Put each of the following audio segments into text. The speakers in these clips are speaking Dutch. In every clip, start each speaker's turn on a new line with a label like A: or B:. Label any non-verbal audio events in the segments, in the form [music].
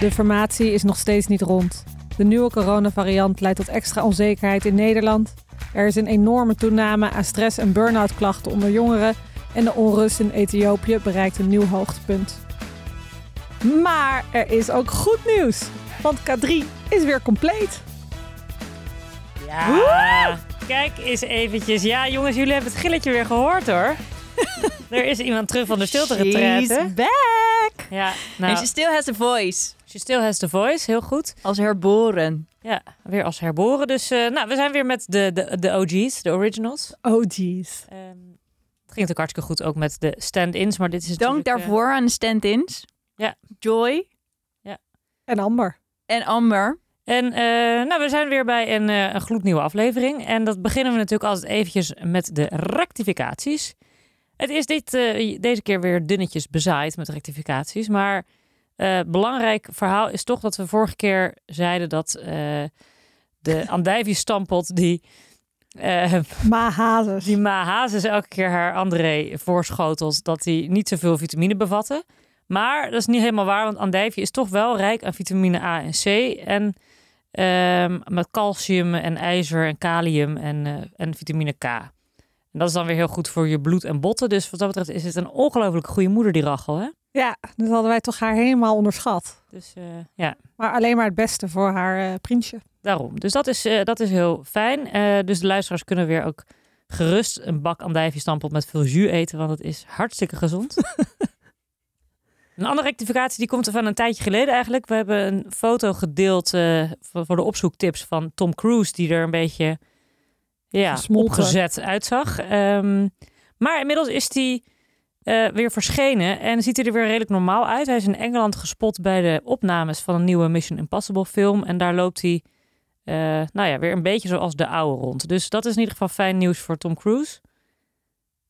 A: De formatie is nog steeds niet rond. De nieuwe coronavariant leidt tot extra onzekerheid in Nederland. Er is een enorme toename aan stress- en burn-out klachten onder jongeren. En de onrust in Ethiopië bereikt een nieuw hoogtepunt. Maar er is ook goed nieuws, want K3 is weer compleet.
B: Ja. Kijk eens eventjes. Ja, jongens, jullie hebben het gilletje weer gehoord
C: [laughs]
B: hoor. er is iemand terug van de stilte getreden.
C: She's back.
B: Ja,
C: En
B: nou,
C: she still has a voice.
B: she still has the voice. Heel goed.
C: Als herboren.
B: Ja, weer als herboren. Dus eh, nou, we zijn weer met de, de, de OG's, de originals.
A: Oh jeez.
B: Ehm, het ging natuurlijk hartstikke goed ook met de stand-ins, maar dit is
C: Dank
B: natuurlijk, eh,
C: daarvoor aan de stand-ins.
B: Ja.
C: Joy
A: En Amber.
C: en Amber.
B: En eh, nou, we zijn weer bij een, eh, een gloednieuwe aflevering. En dat beginnen we natuurlijk altijd eventjes met de rectificaties. Het is dit, eh, deze keer weer dunnetjes bezaaid met rectificaties. Maar eh belangrijk verhaal is toch dat we vorige keer zeiden dat eh, de andijvie stampot die... eh,
A: Ma Hazes.
B: die Ma Hazes elke keer haar André voorschotelt dat die niet zoveel vitamine bevatten. Maar dat is niet helemaal waar, want andijvie is toch wel rijk aan vitamine A en C. En ehm, met calcium en ijzer en kalium en, eh, en vitamine K. En dat is dan weer heel goed voor je bloed en botten. Dus wat dat betreft is het een ongelooflijk goede moeder, die Rachel. Hè?
A: Ja, dat hadden wij toch haar helemaal onderschat.
B: Dus eh, ja,
A: Maar alleen maar het beste voor haar eh, prinsje.
B: Daarom. Dus dat is, eh, dat is heel fijn. Eh, dus de luisteraars kunnen weer ook gerust een bak andijviestampot met veel jus eten, want het is hartstikke gezond. een andere rectificatie die komt van een tijdje geleden eigenlijk. We hebben een foto gedeeld eh, voor voor de opzoektips van Tom Cruise, die er een beetje ja,
A: Gesmolten.
B: opgezet uitzag. Ehm, maar inmiddels is die eh, weer verschenen en ziet hij er weer redelijk normaal uit. Hij is in Engeland gespot bij de opnames van een nieuwe Mission Impossible film. En daar loopt hij eh, nou ja, weer een beetje zoals de oude rond. Dus dat is in ieder geval fijn nieuws voor Tom Cruise.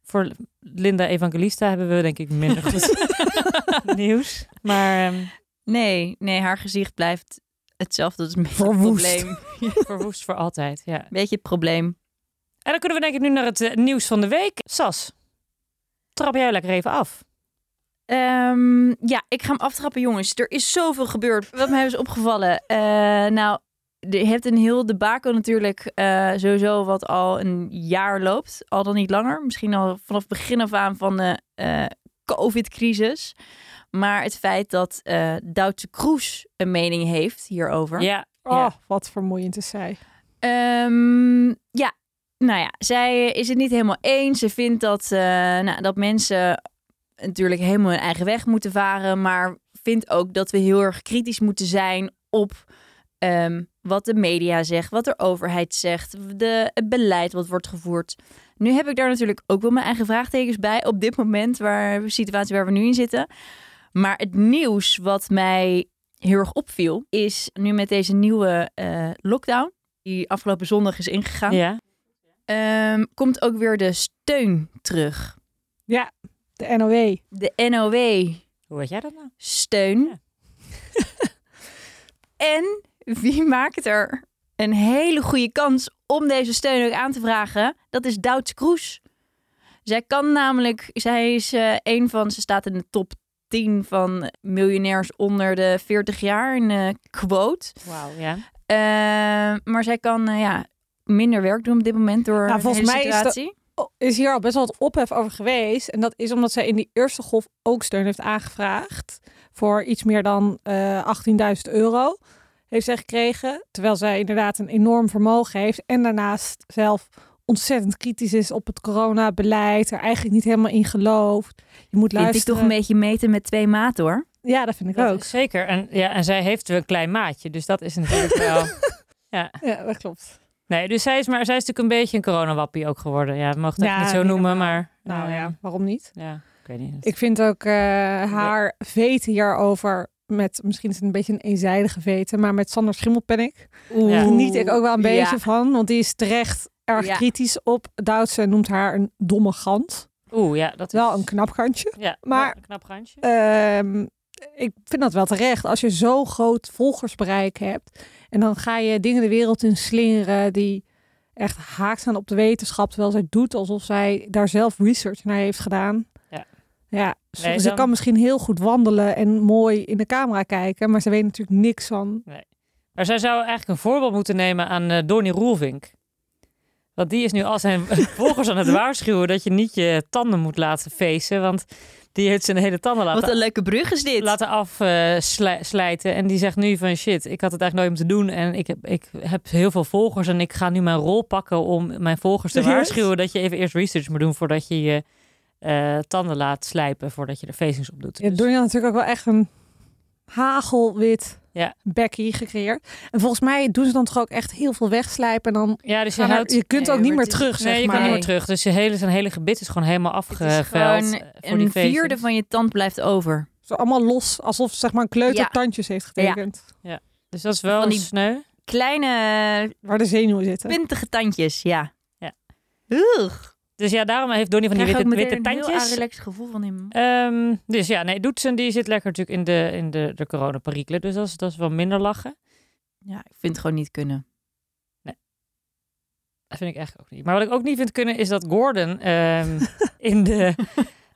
B: Voor Linda Evangelista hebben we denk ik minder goed [laughs] nieuws. Maar ehm,
C: Nee, nee, haar gezicht blijft hetzelfde. Dat is een beetje het
A: Verwoest.
C: probleem.
B: verwoest voor altijd, ja.
C: Beetje het probleem.
B: En dan kunnen we denk ik nu naar het eh, nieuws van de week. Sas, trap jij lekker even af.
C: Ehm, ja, ik ga hem aftrappen, jongens. Er is zoveel gebeurd. Wat mij is opgevallen. Eh, nou, je hebt een heel debakel natuurlijk. eh, sowieso wat al een jaar loopt. Al dan niet langer. Misschien al vanaf begin af aan van de eh, COVID-crisis. Maar het feit dat eh Duitse Kroes een mening heeft hierover.
B: Ja,
A: Oh,
B: Ja.
A: wat vermoeiend is zij.
C: Ehm, ja, nou ja, zij is het niet helemaal eens. Ze vindt dat, eh, nou, dat mensen natuurlijk helemaal hun eigen weg moeten varen. Maar vindt ook dat we heel erg kritisch moeten zijn op ehm, wat de media zegt, wat de overheid zegt, de, het beleid wat wordt gevoerd. Nu heb ik daar natuurlijk ook wel mijn eigen vraagtekens bij op dit moment, waar de situatie waar we nu in zitten. Maar het nieuws wat mij heel erg opviel, is nu met deze nieuwe eh, lockdown, die afgelopen zondag is ingegaan,
B: ja.
C: ehm, komt ook weer de steun terug.
A: De E. NOE.
C: De NOW
B: Hoe weet jij dat nou?
C: steun.
B: Ja.
C: [laughs] en wie maakt er een hele goede kans om deze steun ook aan te vragen? Dat is Douds Kroes. Zij kan namelijk, zij is eh, een van, ze staat in de top 10 van miljonairs onder de 40 jaar in eh quote.
B: Wauw, ja.
C: Eh, maar zij kan eh, ja, minder werk doen op dit moment door
A: Nou,
C: de
A: volgens
C: hele
A: mij is dat-
C: situatie.
A: Oh, is hier al best wel wat ophef over geweest. En dat is omdat zij in die eerste golf ook steun heeft aangevraagd. Voor iets meer dan eh 18.000 euro heeft zij gekregen. Terwijl zij inderdaad een enorm vermogen heeft. En daarnaast zelf ontzettend kritisch is op het coronabeleid. Er eigenlijk niet helemaal in gelooft. Je moet
C: Vind ik
A: luisteren.
C: toch een beetje meten met twee maten hoor.
A: Ja, dat vind ik
B: Dat
A: ook.
B: is zeker. En, ja, en zij heeft een klein maatje, dus dat is natuurlijk
A: [laughs]
B: wel...
A: Ja, dat klopt.
B: Nee, dus zij is, maar, zij is natuurlijk een beetje een coronawappie ook geworden. Ja, we mogen het
A: Ja,
B: echt niet zo
A: niet
B: noemen, maar...
A: Nou
B: eh,
A: ja, waarom niet?
B: Ja, ik weet niet.
A: Ik vind ook eh, haar veten hierover met, misschien is het een beetje een eenzijdige veten, maar met Sander Schimmelpennik
B: Ja.
A: geniet ik ook wel een
C: Ja.
A: beetje van, want die is terecht erg
C: Ja.
A: kritisch op Duits en noemt haar een domme gans.
B: Oeh, ja, dat is...
A: Wel een knap kantje.
B: ja,
A: maar-
B: wel een knap randje.
A: Ehm, ik vind dat wel terecht. Als je zo'n groot volgersbereik hebt en dan ga je dingen de wereld in slingeren die echt haaks staan op de wetenschap, terwijl zij doet alsof zij daar zelf research naar heeft gedaan.
B: Ja.
A: Ja, ze,
B: Nee,
A: ze
B: dan-
A: kan misschien heel goed wandelen en mooi in de camera kijken, maar ze weet natuurlijk niks van.
B: Maar zij zou eigenlijk een voorbeeld moeten nemen aan eh Donnie Roelvink. Want die is nu
A: [laughs]
B: al zijn volgers aan het waarschuwen dat je niet je tanden moet laten feesten. Want die heeft zijn hele tanden
C: Wat
B: laten,
C: een leuke brug is dit.
B: laten afslijten. en die zegt nu van shit, ik had het eigenlijk nooit om te doen. En ik heb, ik heb heel veel volgers en ik ga nu mijn rol pakken om mijn volgers te
A: Serieus?
B: waarschuwen. Dat je even eerst research moet doen voordat je je eh, tanden laat slijpen. Voordat je er facings op doet.
A: Ja,
B: Dus-
A: Donnie had natuurlijk ook wel echt een hagelwit
B: Ja.
A: Becky gecreëerd. En volgens mij doen ze dan toch ook echt heel veel wegslijpen. En dan
B: ja dus je
A: gaan er-
B: houdt...
A: je kunt
C: Nee,
A: ook niet
C: maar
A: meer
C: het is-
A: terug,
B: Nee,
A: zeg
B: je
A: maar.
B: kan niet meer
C: Nee.
B: terug. Dus je hele, zijn hele gebit is gewoon helemaal
C: Het
B: afgeveld.
C: is gewoon
B: eh, voor die
C: een
B: feestjes.
C: vierde van je tand blijft over.
A: Zo allemaal los, alsof ze, zeg maar een kleuter
C: Ja.
A: tandjes heeft getekend.
B: Dus dat is wel
C: van die-
B: sneu.
C: Kleine eh,
A: Waar de zenuwen zitten.
C: puntige tandjes, ja.
B: Ja.
C: Oeh.
B: Dus ja, daarom heeft Donnie van die witte, witte
C: een heel
B: tandjes.
C: relaxed gevoel van hem.
B: Ehm, dus ja, nee, Doetsen die zit lekker natuurlijk in de, in de, de coronaperikelen. Dus dat is, dat is wel minder lachen.
C: Ja, ik vind het gewoon niet kunnen.
B: Dat vind ik eigenlijk ook niet. Maar wat ik ook niet vind kunnen is dat Gordon
C: [laughs]
B: ehm, in de...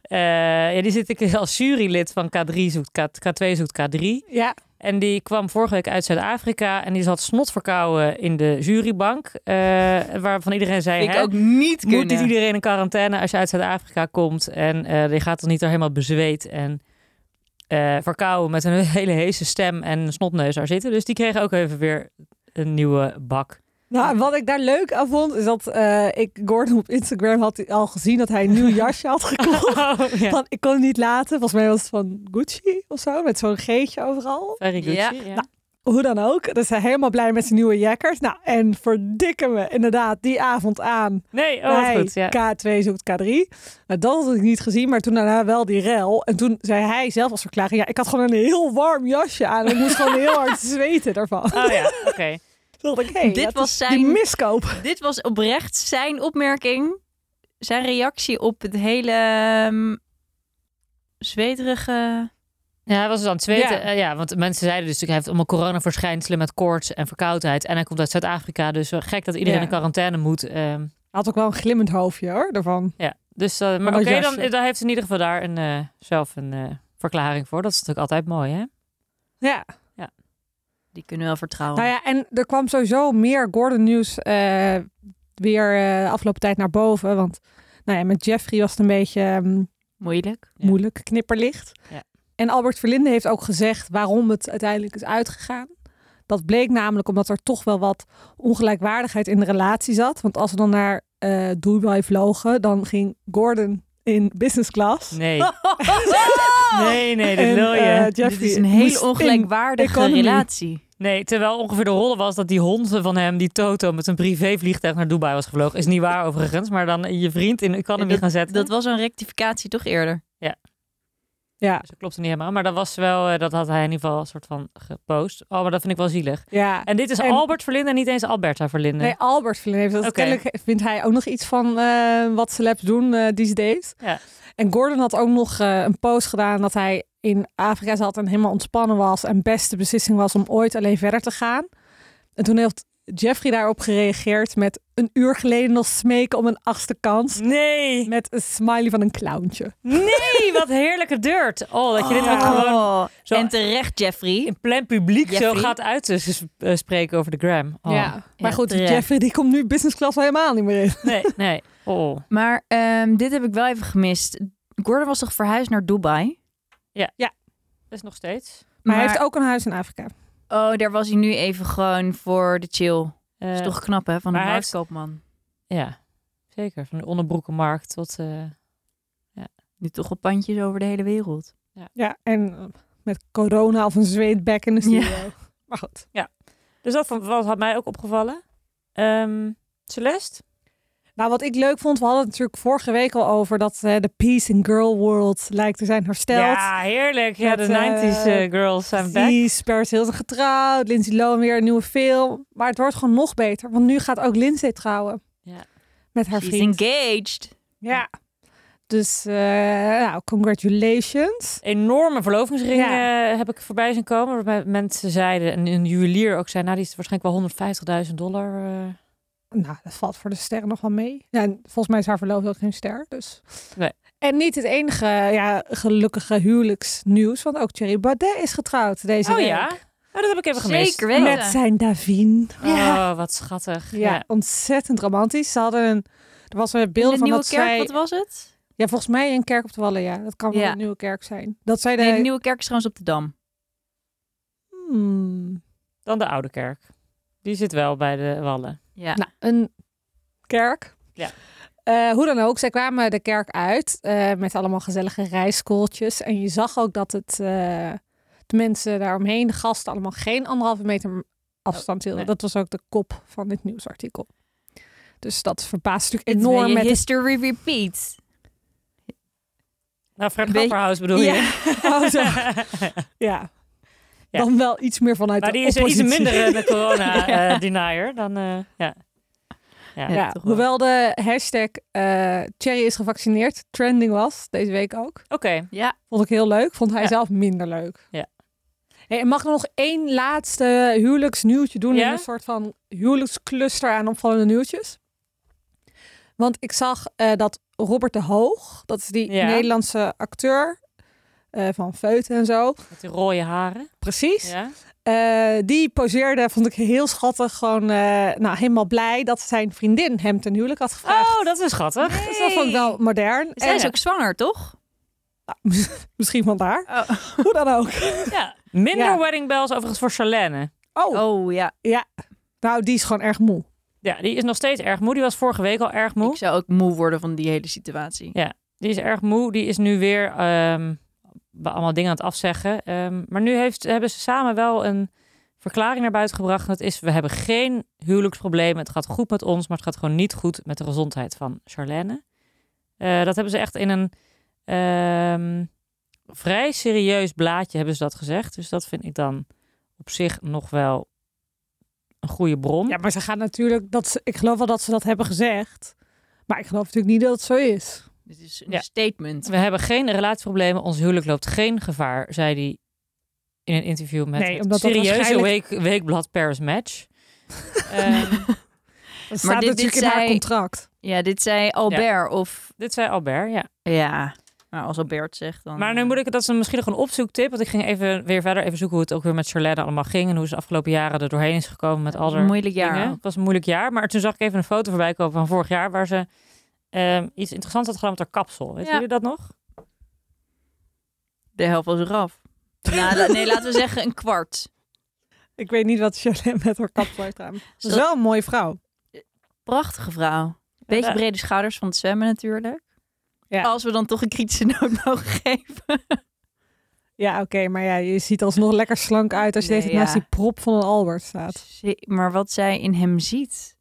B: eh, ja, die zit ik als jurylid van K3 zoekt, K, K2 zoekt K3.
A: Ja,
B: En die kwam vorige week uit Zuid-Afrika. En die zat snotverkouden in de jurybank. eh, waarvan iedereen zei...
C: Vind ik
B: "Hè,
C: ook niet kunnen.
B: moet niet iedereen in quarantaine als je uit Zuid-Afrika komt. En eh die gaat dan niet er helemaal bezweet en eh, verkouden met een [laughs] hele heese stem en een snotneus daar zitten. Dus die kregen ook even weer een nieuwe
C: [laughs]
B: bak.
A: nou en wat ik daar leuk aan vond, is dat eh, ik Gordon op Instagram had al gezien dat hij een [laughs] nieuw jasje had gekocht.
B: Oh, ja.
A: Van, ik kon het niet laten. Volgens mij was het van Gucci of zo, met zo'n geetje overal.
B: Very Gucci.
C: Ja. Nou,
B: Ja.
A: Hoe dan ook, dus hij helemaal blij met zijn nieuwe jackers. Nou, en verdikken we inderdaad die avond aan
B: Nee, oh, wat
A: bij
B: goed. Ja.
A: K2 zoekt K3. Nou, dat had ik niet gezien, maar toen daarna wel die rel. En toen zei hij zelf als verklaring, ja, ik had gewoon een heel warm jasje aan. Ik moest gewoon heel
B: [laughs]
A: hard zweten daarvan.
B: Oh ja, oké.
A: Toen dacht ik, hey,
C: Dit
A: dat
C: was
A: is die
C: zijn-
A: miskoop.
C: Dit was oprecht zijn opmerking. Zijn reactie op het hele ehm, zweterige...
B: Ja, hij was dus aan het zweten.
A: Ja.
B: Ja. ja, want mensen zeiden dus, hij heeft allemaal coronaverschijnselen met koorts en verkoudheid. En hij komt uit Zuid-Afrika, dus wel gek dat iedereen
A: Ja.
B: in quarantaine moet. ehm.
A: Hij had ook wel een glimmend hoofdje hoor, daarvan.
B: Ja, dus eh, maar
A: dat
B: oké,
A: jasje.
B: dan, dan heeft ze in ieder geval daar een, eh, zelf een eh, verklaring voor. Dat is natuurlijk altijd mooi, hè?
A: Ja,
C: Die kunnen wel
B: Oh.
C: vertrouwen.
A: nou ja, en er kwam sowieso meer Gordon nieuws eh, weer eh, de afgelopen tijd naar boven. Want nou ja, met Jeffrey was het een beetje... ehm,
C: Moeilijk.
B: Ja.
A: moeilijk knipperlicht.
B: Ja.
A: En Albert Verlinde heeft ook gezegd waarom het uiteindelijk is uitgegaan. Dat bleek namelijk omdat er toch wel wat ongelijkwaardigheid in de relatie zat. Want als we dan naar eh Dubai vlogen, dan ging Gordon in business class.
B: [laughs] Nee, nee, nee, dat
A: En,
B: wil je.
A: eh, Jeffrey
C: Dit is een hele
A: moest in.
C: ongelijkwaardige
A: economy.
C: relatie.
B: Nee, terwijl ongeveer de rollen was dat die hond van hem, die Toto, met een privévliegtuig naar Dubai was gevlogen. Is niet [laughs] waar overigens, maar dan je vriend in economy gaan zetten.
C: Dat was een rectificatie toch eerder?
A: Ja,
B: Dus dat klopte niet helemaal, maar dat was wel, eh, dat had hij in ieder geval een soort van gepost. Oh, maar dat vind ik wel zielig.
A: ja.
B: En dit is
A: En-
B: Albert Verlinde, niet eens Alberta Verlinde.
A: Nee, Albert Verlinde heeft dat.
B: Oké.
A: Kennelijk vindt hij ook nog iets van eh, wat celebs doen eh these days.
B: Ja.
A: En Gordon had ook nog eh, een post gedaan dat hij in Afrika zat en helemaal ontspannen was. En beste beslissing was om ooit alleen verder te gaan. En toen heeft Jeffrey daarop gereageerd met een uur geleden nog smeken om een achtste kans.
B: Nee,
A: Met een smiley van een clowntje.
B: nee, wat heerlijke dirt. Oh, dat je dit ook
A: Oh.
B: gewoon zo
C: En terecht, Jeffrey.
B: in plein publiek zo
C: Jeffrey?
B: gaat uit te s- eh, spreken over de gram. Oh.
A: Maar
C: Ja,
A: goed,
C: terecht.
A: Jeffrey die komt nu business class al helemaal niet meer in.
B: Nee, nee. Oh.
C: Maar ehm, dit heb ik wel even gemist. Gordon was toch verhuisd naar Dubai?
B: Dat is nog steeds.
A: Maar, hij heeft ook een huis in Afrika.
C: Oh, daar was hij nu even gewoon voor de chill.
A: Eh,
C: Dat is toch knap, hè? Van
B: maar
C: een
B: hij heeft-
C: marktkoopman.
B: Eh, Ja, zeker. Van de onderbroekenmarkt tot... eh,
C: Nu toch op pandjes over de hele wereld.
A: Ja, en eh, met corona of een zweetbek in de studio. Maar goed.
B: Dus dat vond- wat had mij ook opgevallen. Ehm, Celeste?
A: Nou, wat ik leuk vond, we hadden het natuurlijk vorige week al over dat eh, de Peace in Girl World lijkt te zijn hersteld.
B: Ja, heerlijk. Ja,
A: Met, eh,
B: de 90s eh, girls zijn back.
A: Die Paris Hilton getrouwd, Lindsay Lohan weer een nieuwe film. Maar het wordt gewoon nog beter, want nu gaat ook Lindsay trouwen.
B: Ja.
A: Met haar
C: She's
A: vriend.
C: engaged.
A: Ja. Dus, eh, nou, congratulations.
B: Enorme verlovingsringen eh, heb ik voorbij zien komen. Waarbij mensen zeiden, en een juwelier ook zei, nou die is waarschijnlijk wel 150.000 dollar. eh.
A: Nou, dat valt voor de sterren nog wel mee. Ja, en volgens mij is haar verloofd ook geen ster, dus...
B: Nee.
A: En niet het enige ja, gelukkige huwelijksnieuws, want ook Thierry Baudet is getrouwd deze
B: Oh
A: week.
B: ja? Oh, dat heb ik even gemist.
C: Zeker weten.
A: Met zijn Davine.
B: Oh, wat schattig.
A: Ja, ontzettend romantisch. Ze hadden een... Er was een
C: In
A: beeld
C: de
A: van
C: nieuwe
A: dat
C: kerk,
A: zij...
C: wat was het?
A: Ja, volgens mij een kerk op de Wallen, ja. Dat kan wel
C: Ja.
A: een nieuwe kerk zijn. Dat zij de...
C: Nee, de nieuwe kerk is trouwens op de Dam.
A: Hmm.
B: Dan de Oude Kerk. Die zit wel bij de Wallen.
C: Ja.
A: Nou, een kerk.
B: Ja.
A: Eh, hoe dan ook, zij kwamen de kerk uit eh, met allemaal gezellige rijschooltjes. En je zag ook dat het, eh, de mensen daaromheen, de gasten, allemaal geen anderhalve meter afstand hielden.
B: nee.
A: Dat was ook de kop van dit nieuwsartikel. Dus dat verbaast natuurlijk
C: Dit wil
A: enorm
C: eh, je
A: met het
C: history repeat.
B: Nou, Fred
C: Een beetje-
B: Grapperhaus bedoel je? [laughs]
A: Ja. [laughs] Oh, zo. ja.
B: Ja.
A: Dan wel iets meer vanuit
B: maar
A: de
B: die is iets
A: oppositie.
B: minder eh, de
C: Ja.
B: corona-denier dan... eh, ja.
A: [laughs]
B: Ja,
A: Ja,
C: toch wel.
A: hoewel de hashtag eh Thierry is gevaccineerd trending was, deze week ook.
B: Oké,
C: Ja,
A: Vond ik heel leuk. Vond hij
B: Ja.
A: zelf minder leuk.
B: Ja.
A: Hey, en mag ik nog één laatste huwelijksnieuwtje doen?
B: Ja?
A: In een soort van huwelijkscluster aan opvallende nieuwtjes. Want ik zag eh, dat Robert de Hoog, dat is die
B: Ja.
A: Nederlandse acteur eh, van Feuten en zo.
B: met die rode haren.
A: Precies.
B: Ja.
A: Eh, die poseerde, vond ik heel schattig. Gewoon eh, nou, helemaal blij dat zijn vriendin hem ten huwelijk had gevraagd.
B: Oh, dat is schattig.
A: Dus dat vond ik wel Eh. modern.
C: zij
A: En-
C: is ook zwanger, toch?
A: Misschien vandaar.
C: Oh,
A: Hoe dan ook.
B: Ja. Minder
A: Ja.
B: wedding bells overigens voor Charlène.
A: Oh,
C: ja.
A: nou die is gewoon erg moe.
B: Ja, die is nog steeds erg moe. Die was vorige week al erg
C: Ik
B: moe.
C: zou ook moe worden van die hele situatie.
B: Die is erg moe. Die is nu weer ehm, be- allemaal dingen aan het afzeggen. Ehm, maar nu heeft, hebben ze samen wel een verklaring naar buiten gebracht. Dat is, we hebben geen huwelijksproblemen. Het gaat goed met ons, maar het gaat gewoon niet goed met de gezondheid van Charlène. Eh, dat hebben ze echt in een ehm, vrij serieus blaadje hebben ze dat gezegd. Dus dat vind ik dan op zich nog wel een goede bron.
A: Ja, maar ze gaan natuurlijk. Dat ze, ik geloof wel dat ze dat hebben gezegd. Maar ik geloof natuurlijk niet dat het zo is.
C: Dit is een
B: Ja.
C: statement.
B: We hebben geen relatieproblemen. Ons huwelijk loopt geen gevaar, zei hij in een interview met
A: Nee,
B: het
A: omdat dat
B: serieuze
A: waarschijnlijk-
B: week, weekblad Paris Match. Ehm,
A: Dat staat
C: dit- dit
A: natuurlijk in haar
C: zei-
A: contract.
C: Ja, dit zei Albert of...
B: dit zei Albert, ja.
C: Ja, nou, als Albert zegt dan... eh,
B: Maar nu moet ik, dat is misschien nog een opzoektip, want ik ging even weer verder even zoeken hoe het ook weer met Charlène allemaal ging en hoe ze de afgelopen jaren er doorheen is gekomen met al haar
C: Moeilijk
B: dingen.
C: jaar.
B: Het was een moeilijk jaar, maar toen zag ik even een foto voorbij komen van vorig jaar waar ze ehm, iets interessants had gedaan met haar kapsel. Weet
C: Ja.
B: jullie dat nog?
C: De helft was eraf.
A: [laughs]
C: Nou, la- nee, laten we zeggen een kwart.
A: Ik weet niet wat Charlène met haar kap heeft
C: [laughs]
A: aan. Ze is
C: dat-
A: wel een mooie vrouw.
C: Prachtige vrouw. Beetje
B: Ja.
C: brede schouders van het zwemmen natuurlijk.
A: Ja.
C: Als we dan toch een kritische noot mogen geven.
A: Ja, oké, maar ja, je ziet alsnog lekker slank uit als je
C: Nee,
A: deze naast
C: ja.
A: die prop van een Albert staat.
C: Ze- Maar wat zij in hem ziet.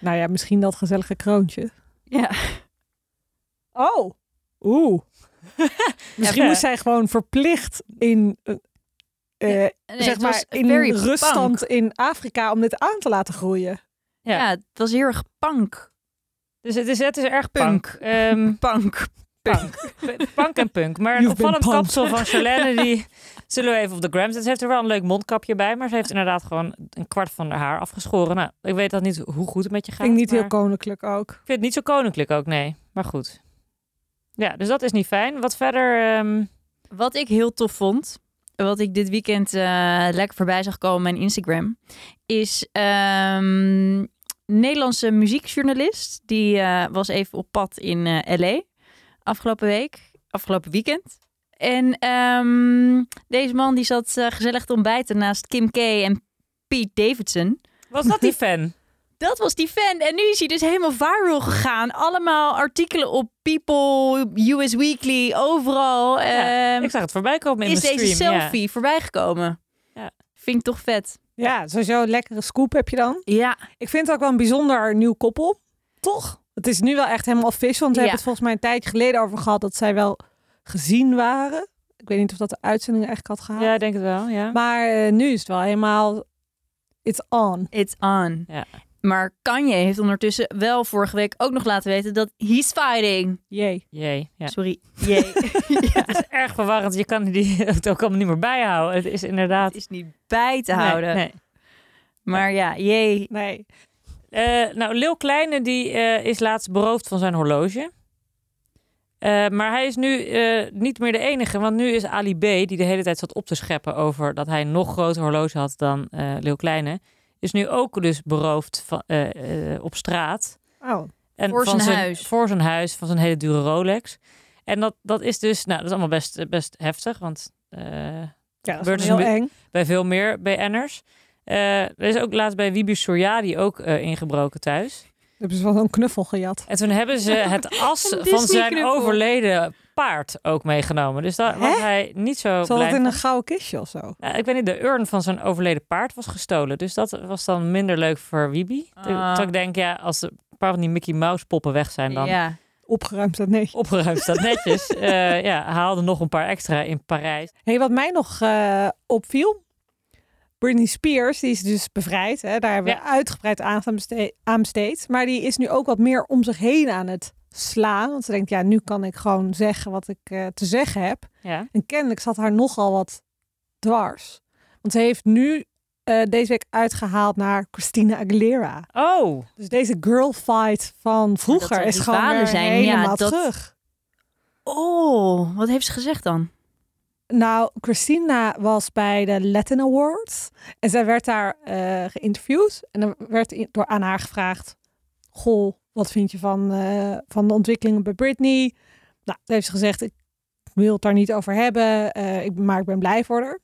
A: Nou ja, misschien dat gezellige kroontje.
C: Ja.
A: Oh, oeh. misschien
B: Ja.
A: moest zij gewoon verplicht in, eh, eh,
C: Nee,
A: zeg
C: het was
A: maar in
C: very punk.
A: ruststand in Afrika om dit aan te laten groeien.
B: Ja.
C: Ja. het was heel erg punk.
B: Dus het is, het is erg
C: Punk.
B: punk. Ehm,
C: Punk.
B: punk. punk en punk. Maar een
A: You've been
B: opvallend
A: punked.
B: kapsel van Charlène, die zullen we even op de gram zetten. Ze heeft er wel een leuk mondkapje bij, maar ze heeft inderdaad gewoon een kwart van haar haar afgeschoren. Nou, ik weet dat niet hoe goed het met je gaat.
A: Ging niet
B: maar
A: heel koninklijk ook.
B: Ik vind het niet zo koninklijk ook, nee. Maar goed. Ja, dus dat is niet fijn. Wat verder... ehm,
C: Wat ik heel tof vond, wat ik dit weekend eh, lekker voorbij zag komen op mijn Instagram, is ehm, een Nederlandse muziekjournalist. Die eh, was even op pad in eh, LA afgelopen week, afgelopen weekend. En ehm, deze man die zat eh, gezellig te ontbijten naast Kim K en Pete Davidson.
B: was dat die fan?
C: Dat was die fan. En nu is hij dus helemaal viral gegaan. Allemaal artikelen op People, US Weekly, overal.
B: Ja,
C: Ehm,
B: [laughs] ik zag het voorbij komen in
C: is
B: mijn
C: deze
B: stream. ja.
C: selfie voorbij gekomen.
B: Ja.
C: Vind ik toch vet.
A: Ja, sowieso een lekkere scoop heb je dan.
C: Ja.
A: Ik vind het ook wel een bijzonder nieuw koppel. Toch? Het is nu wel echt helemaal official. Want we
C: Ja.
A: hebben het volgens mij een tijdje geleden over gehad dat zij wel gezien waren. Ik weet niet of dat de uitzending eigenlijk had
B: Ja,
A: gehaald.
B: ik denk het wel, ja.
A: Maar eh, nu is het wel helemaal... It's on.
C: It's on.
B: Ja.
C: Maar Kanye heeft ondertussen wel vorige week ook nog laten weten dat he's fighting.
A: Jee.
B: Jee, ja.
C: Sorry. Jee.
B: [laughs]
C: ja,
B: Het is erg verwarrend. Je kan die, [laughs] het ook allemaal niet meer bijhouden. Het is inderdaad...
C: het is niet bij te
B: Nee,
C: houden.
B: nee.
C: Maar ja, jee.
A: Nee.
B: Eh, nou, Lil Kleine die, eh, is laatst beroofd van zijn horloge. Eh, maar hij is nu eh, niet meer de enige, want nu is Ali B, die de hele tijd zat op te scheppen over dat hij een nog groter horloge had dan eh Leeuw Kleine, is nu ook dus beroofd van, eh, eh, op straat.
A: Oh.
B: En
C: Voor
B: van
C: zijn huis.
B: Voor zijn huis, van zijn hele dure Rolex. En dat, dat is dus, nou, dat is allemaal best, best heftig, want eh,
A: Ja, dat
B: Wordt
A: is wel
B: dus
A: heel eng.
B: bij veel meer BN'ers. Eh er is ook laatst bij Wibi Suryadi ook eh, ingebroken thuis.
A: Hebben ze dus wel een knuffel gejat.
C: Oh,
B: En toen hebben ze het as
C: Een
B: van zijn
C: Disney-knuffel.
B: overleden paard ook meegenomen. Dus daar was
A: Hè?
B: hij niet zo
A: Zal
B: blij.
A: dat in een gouden kistje of zo?
B: Nou, ik weet niet, de urn van zijn overleden paard was gestolen. Dus dat was dan minder leuk voor Wibi. Toen-
C: Ah.
B: Toen ik denk, ja, als er een paar van die Mickey Mouse poppen weg zijn, dan
C: Ja.
A: Opgeruimd dat nee.
B: opgeruimd staat netjes. Eh ja, haalde nog een paar extra in Parijs.
A: hey, wat mij nog eh, opviel. Britney Spears, die is dus bevrijd. Hè? Daar hebben we uitgebreid aandacht aan beste- aan besteed. Maar die is nu ook wat meer om zich heen aan het slaan. Want ze denkt, ja, nu kan ik gewoon zeggen wat ik eh, te zeggen heb.
B: Ja.
A: En kennelijk zat haar nogal wat dwars. Want ze heeft nu eh, deze week uitgehaald naar Christina Aguilera.
B: Oh,
A: Dus deze girl fight van vroeger
C: zal
A: is gewoon
C: rivalen
A: weer
C: zijn, ja,
A: helemaal
C: dat-
A: terug.
C: Oh, wat heeft ze gezegd dan?
A: Nou, Christina was bij de Latin Awards en zij werd daar eh, geïnterviewd. En er werd i- door aan haar gevraagd: Goh, wat vind je van, eh, van de ontwikkelingen bij Britney? Nou, toen heeft ze gezegd: Ik wil het daar niet over hebben, eh, ik, maar ik ben blij voor haar.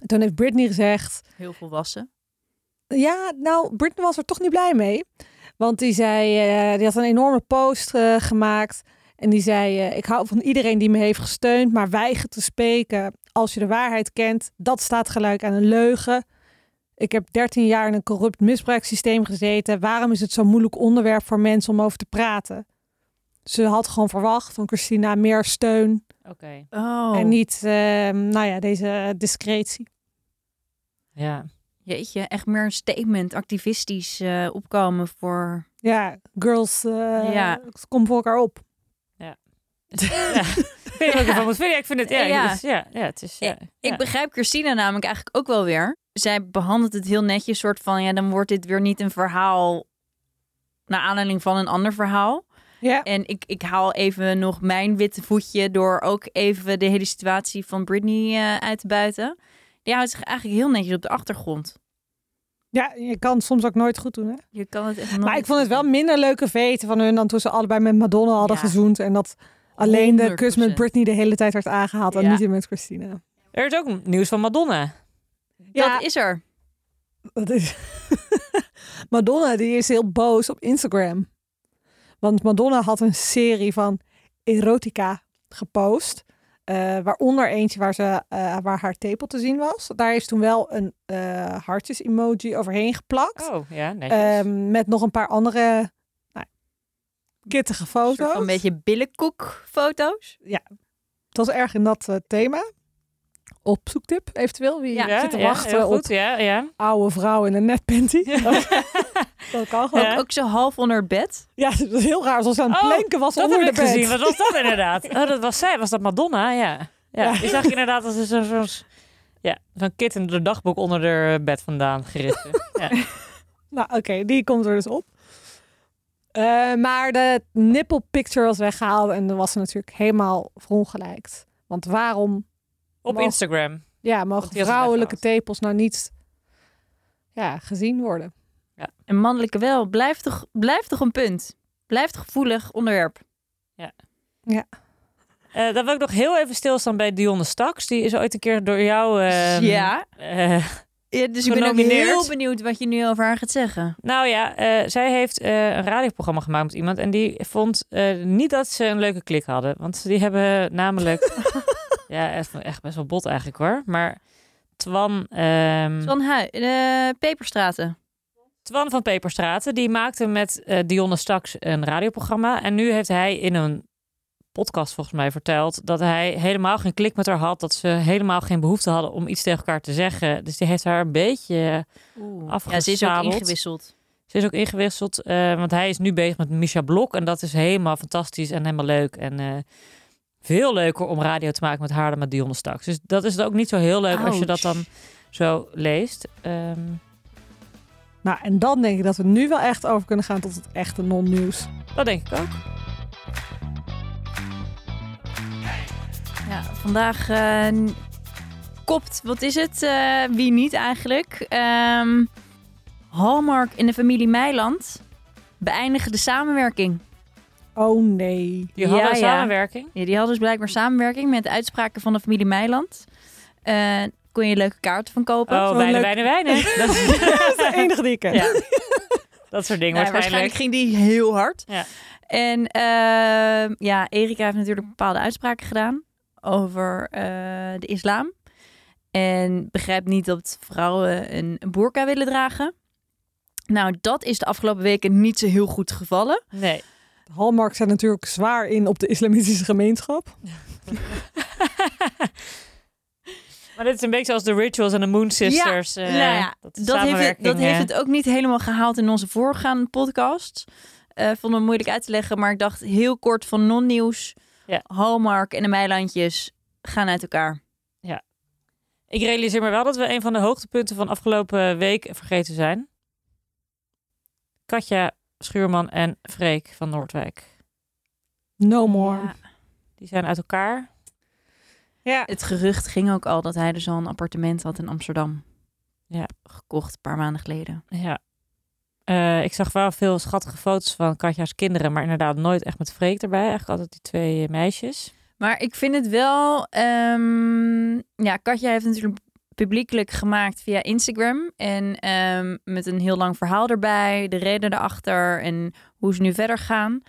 A: En toen heeft Britney gezegd:
C: Heel volwassen.
A: Ja, nou, Britney was er toch niet blij mee. Want die zei, eh, die had een enorme post eh, gemaakt. En die zei, eh, ik hou van iedereen die me heeft gesteund, maar weiger te spreken. Als je de waarheid kent, dat staat gelijk aan een leugen. Ik heb 13 jaar in een corrupt misbruikssysteem gezeten. Waarom is het zo'n moeilijk onderwerp voor mensen om over te praten? Ze had gewoon verwacht van Christina meer steun
B: oké.
C: Oh.
A: en niet, eh, nou ja, deze discretie.
B: Ja.
C: Jeetje, echt meer een statement, activistisch eh, opkomen voor...
A: Ja, girls, eh
C: Ja.
A: kom voor elkaar op.
B: ja. Ik weet niet wat ik ervan moet vinden. Ja, Ik vind het, ja,
C: Ja.
B: Het is, ja, ja, het is, ja, ja.
C: Ik begrijp Christina namelijk eigenlijk ook wel weer. Zij behandelt het heel netjes, soort van, ja, dan wordt dit weer niet een verhaal naar aanleiding van een ander verhaal.
A: Ja.
C: En ik, ik haal even nog mijn witte voetje door ook even de hele situatie van Britney eh, uit te buiten. Die houdt zich eigenlijk heel netjes op de achtergrond.
A: Ja, je kan het soms ook nooit goed doen. Hè?
C: Je kan het echt
A: Maar
C: nooit-
A: ik vond het wel minder leuke veten van hun dan toen ze allebei met Madonna hadden
C: Ja.
A: gezoend. En dat alleen de kus
C: 100%.
A: met Britney de hele tijd werd aangehaald en
C: Ja.
A: niet die met Christina.
B: Er is ook nieuws van Madonna.
A: Ja,
C: Dat is er.
A: dat is. [laughs] Madonna die is heel boos op Instagram. Want Madonna had een serie van erotica gepost. eh, waaronder eentje waar, ze, eh, waar haar tepel te zien was. Daar heeft ze toen wel een eh hartjes-emoji overheen geplakt.
B: Oh, ja, netjes.
A: Ehm, met nog een paar andere nou, kittige
C: Een
A: foto's.
C: soort van een beetje billenkoekfoto's.
A: Het was erg in dat eh, thema. Op zoektip eventueel. Wie
B: ja,
A: zit te
B: ja,
A: wachten
B: heel goed,
A: op
B: Ja, ja.
A: oude vrouw in een netpanty. [laughs] dat, kan gewoon.
B: Ja.
C: Ook zo half onder het bed.
A: Ja, het was heel raar. Zoals ze aan het
B: Oh,
A: planken was
B: Dat
A: onder
B: heb
A: de
B: ik
A: bed.
B: gezien. Wat was
A: [laughs]
B: dat inderdaad? Oh, dat was zij. Was dat Madonna? Ja. Ja,
A: Ja.
B: ik zag inderdaad als zo'n zo, ja, zo'n kit in de dagboek onder de bed vandaan
A: [laughs]
B: gerissen. Ja.
A: Nou, oké, die komt er dus op. Eh, maar de nipple picture was weggehaald en dan was ze natuurlijk helemaal verongelijkt. Want waarom
B: Op
A: Mag-
B: Instagram.
A: ja,
B: Want
A: mogen
B: die had het
A: vrouwelijke
B: weggehaald.
A: tepels nou niet ja, gezien worden?
C: En mannelijke wel. Blijft toch, blijft toch een punt. Blijft gevoelig onderwerp.
B: Eh dan wil ik nog heel even stilstaan bij Dionne Staks. Die is ooit een keer door jou... ehm,
C: ja.
B: eh,
C: ja. Dus ik ben ook
B: genomineerd.
C: heel benieuwd wat je nu over haar gaat zeggen.
B: nou ja, eh, zij heeft eh, een radioprogramma gemaakt met iemand. En die vond eh, niet dat ze een leuke klik hadden. Want die hebben namelijk...
A: [laughs]
B: ja, echt, echt best wel bot eigenlijk hoor. Maar Twan... ehm,
C: Van Hu eh, Peperstraten.
B: Twan van Peperstraten, die maakte met eh Dionne Staks een radioprogramma. En nu heeft hij in een podcast volgens mij verteld dat hij helemaal geen klik met haar had. Dat ze helemaal geen behoefte hadden om iets tegen elkaar te zeggen. Dus die heeft haar een beetje...
C: Ja, ze is ook
B: afgezadeld.
C: ingewisseld.
B: Ze is ook ingewisseld, eh, want hij is nu bezig met Misha Blok. En dat is helemaal fantastisch en helemaal leuk. En eh, veel leuker om radio te maken met haar dan met Dionne Staks. Dus dat is ook niet zo heel leuk als je dat dan
C: Ouch.
B: zo leest. Ehm,
A: Nou, en dan denk ik dat we nu wel echt over kunnen gaan tot het echte non-nieuws.
B: dat denk ik ook.
C: Ja, vandaag eh, kopt, wat is het? eh, wie niet eigenlijk? Ehm Hallmark en de familie Meiland beëindigen de samenwerking.
A: Oh nee. [laughs]
B: Die hadden
C: Ja, ja.
B: samenwerking.
C: Ja, die hadden dus blijkbaar samenwerking met de uitspraken van de familie Meiland. Eh kon je leuke kaarten van kopen.
B: Oh,
A: wel
B: wijnen,
A: leuk.
B: wijnen,
C: [laughs]
B: wijnen. Dat,
A: Dat is de enige die ik ken.
B: Ja. dat soort dingen
C: Nou,
B: waarschijnlijk.
C: ging die heel hard.
B: Ja.
C: En eh, ja, Erika heeft natuurlijk bepaalde uitspraken gedaan over eh, de islam. En begrijpt niet dat vrouwen een een boerka willen dragen. Nou, dat is de afgelopen weken niet zo heel goed gevallen.
B: Nee. [laughs]
A: Hallmark staat natuurlijk zwaar in op de islamitische gemeenschap.
B: Maar dit is een beetje zoals de Rituals en de Moon Sisters. eh,
C: nou ja,
B: dat de
C: Dat, heeft het,
B: samenwerking,
C: dat heeft
B: eh,
C: het ook niet helemaal gehaald in onze voorgaande podcast. Eh vond het moeilijk uit te leggen, maar ik dacht heel kort van non-nieuws.
B: Ja.
C: Hallmark en de Meilandjes gaan uit elkaar.
B: Ik realiseer me wel dat we een van de hoogtepunten van afgelopen week vergeten zijn. Katja Schuurman en Freek van Noordwijk.
A: No more.
C: Ja.
B: Die zijn uit elkaar.
A: Ja.
C: Het gerucht ging ook al dat hij dus al een appartement had in Amsterdam.
B: Ja.
C: Gekocht een paar maanden geleden.
B: Ja. Eh, ik zag wel veel schattige foto's van Katja's kinderen, maar inderdaad nooit echt met Freek erbij. Eigenlijk altijd die twee eh, meisjes.
C: Maar ik vind het wel... ehm, ja, Katja heeft natuurlijk publiekelijk gemaakt via Instagram. En ehm, met een heel lang verhaal erbij. De reden erachter en hoe ze nu verder gaan.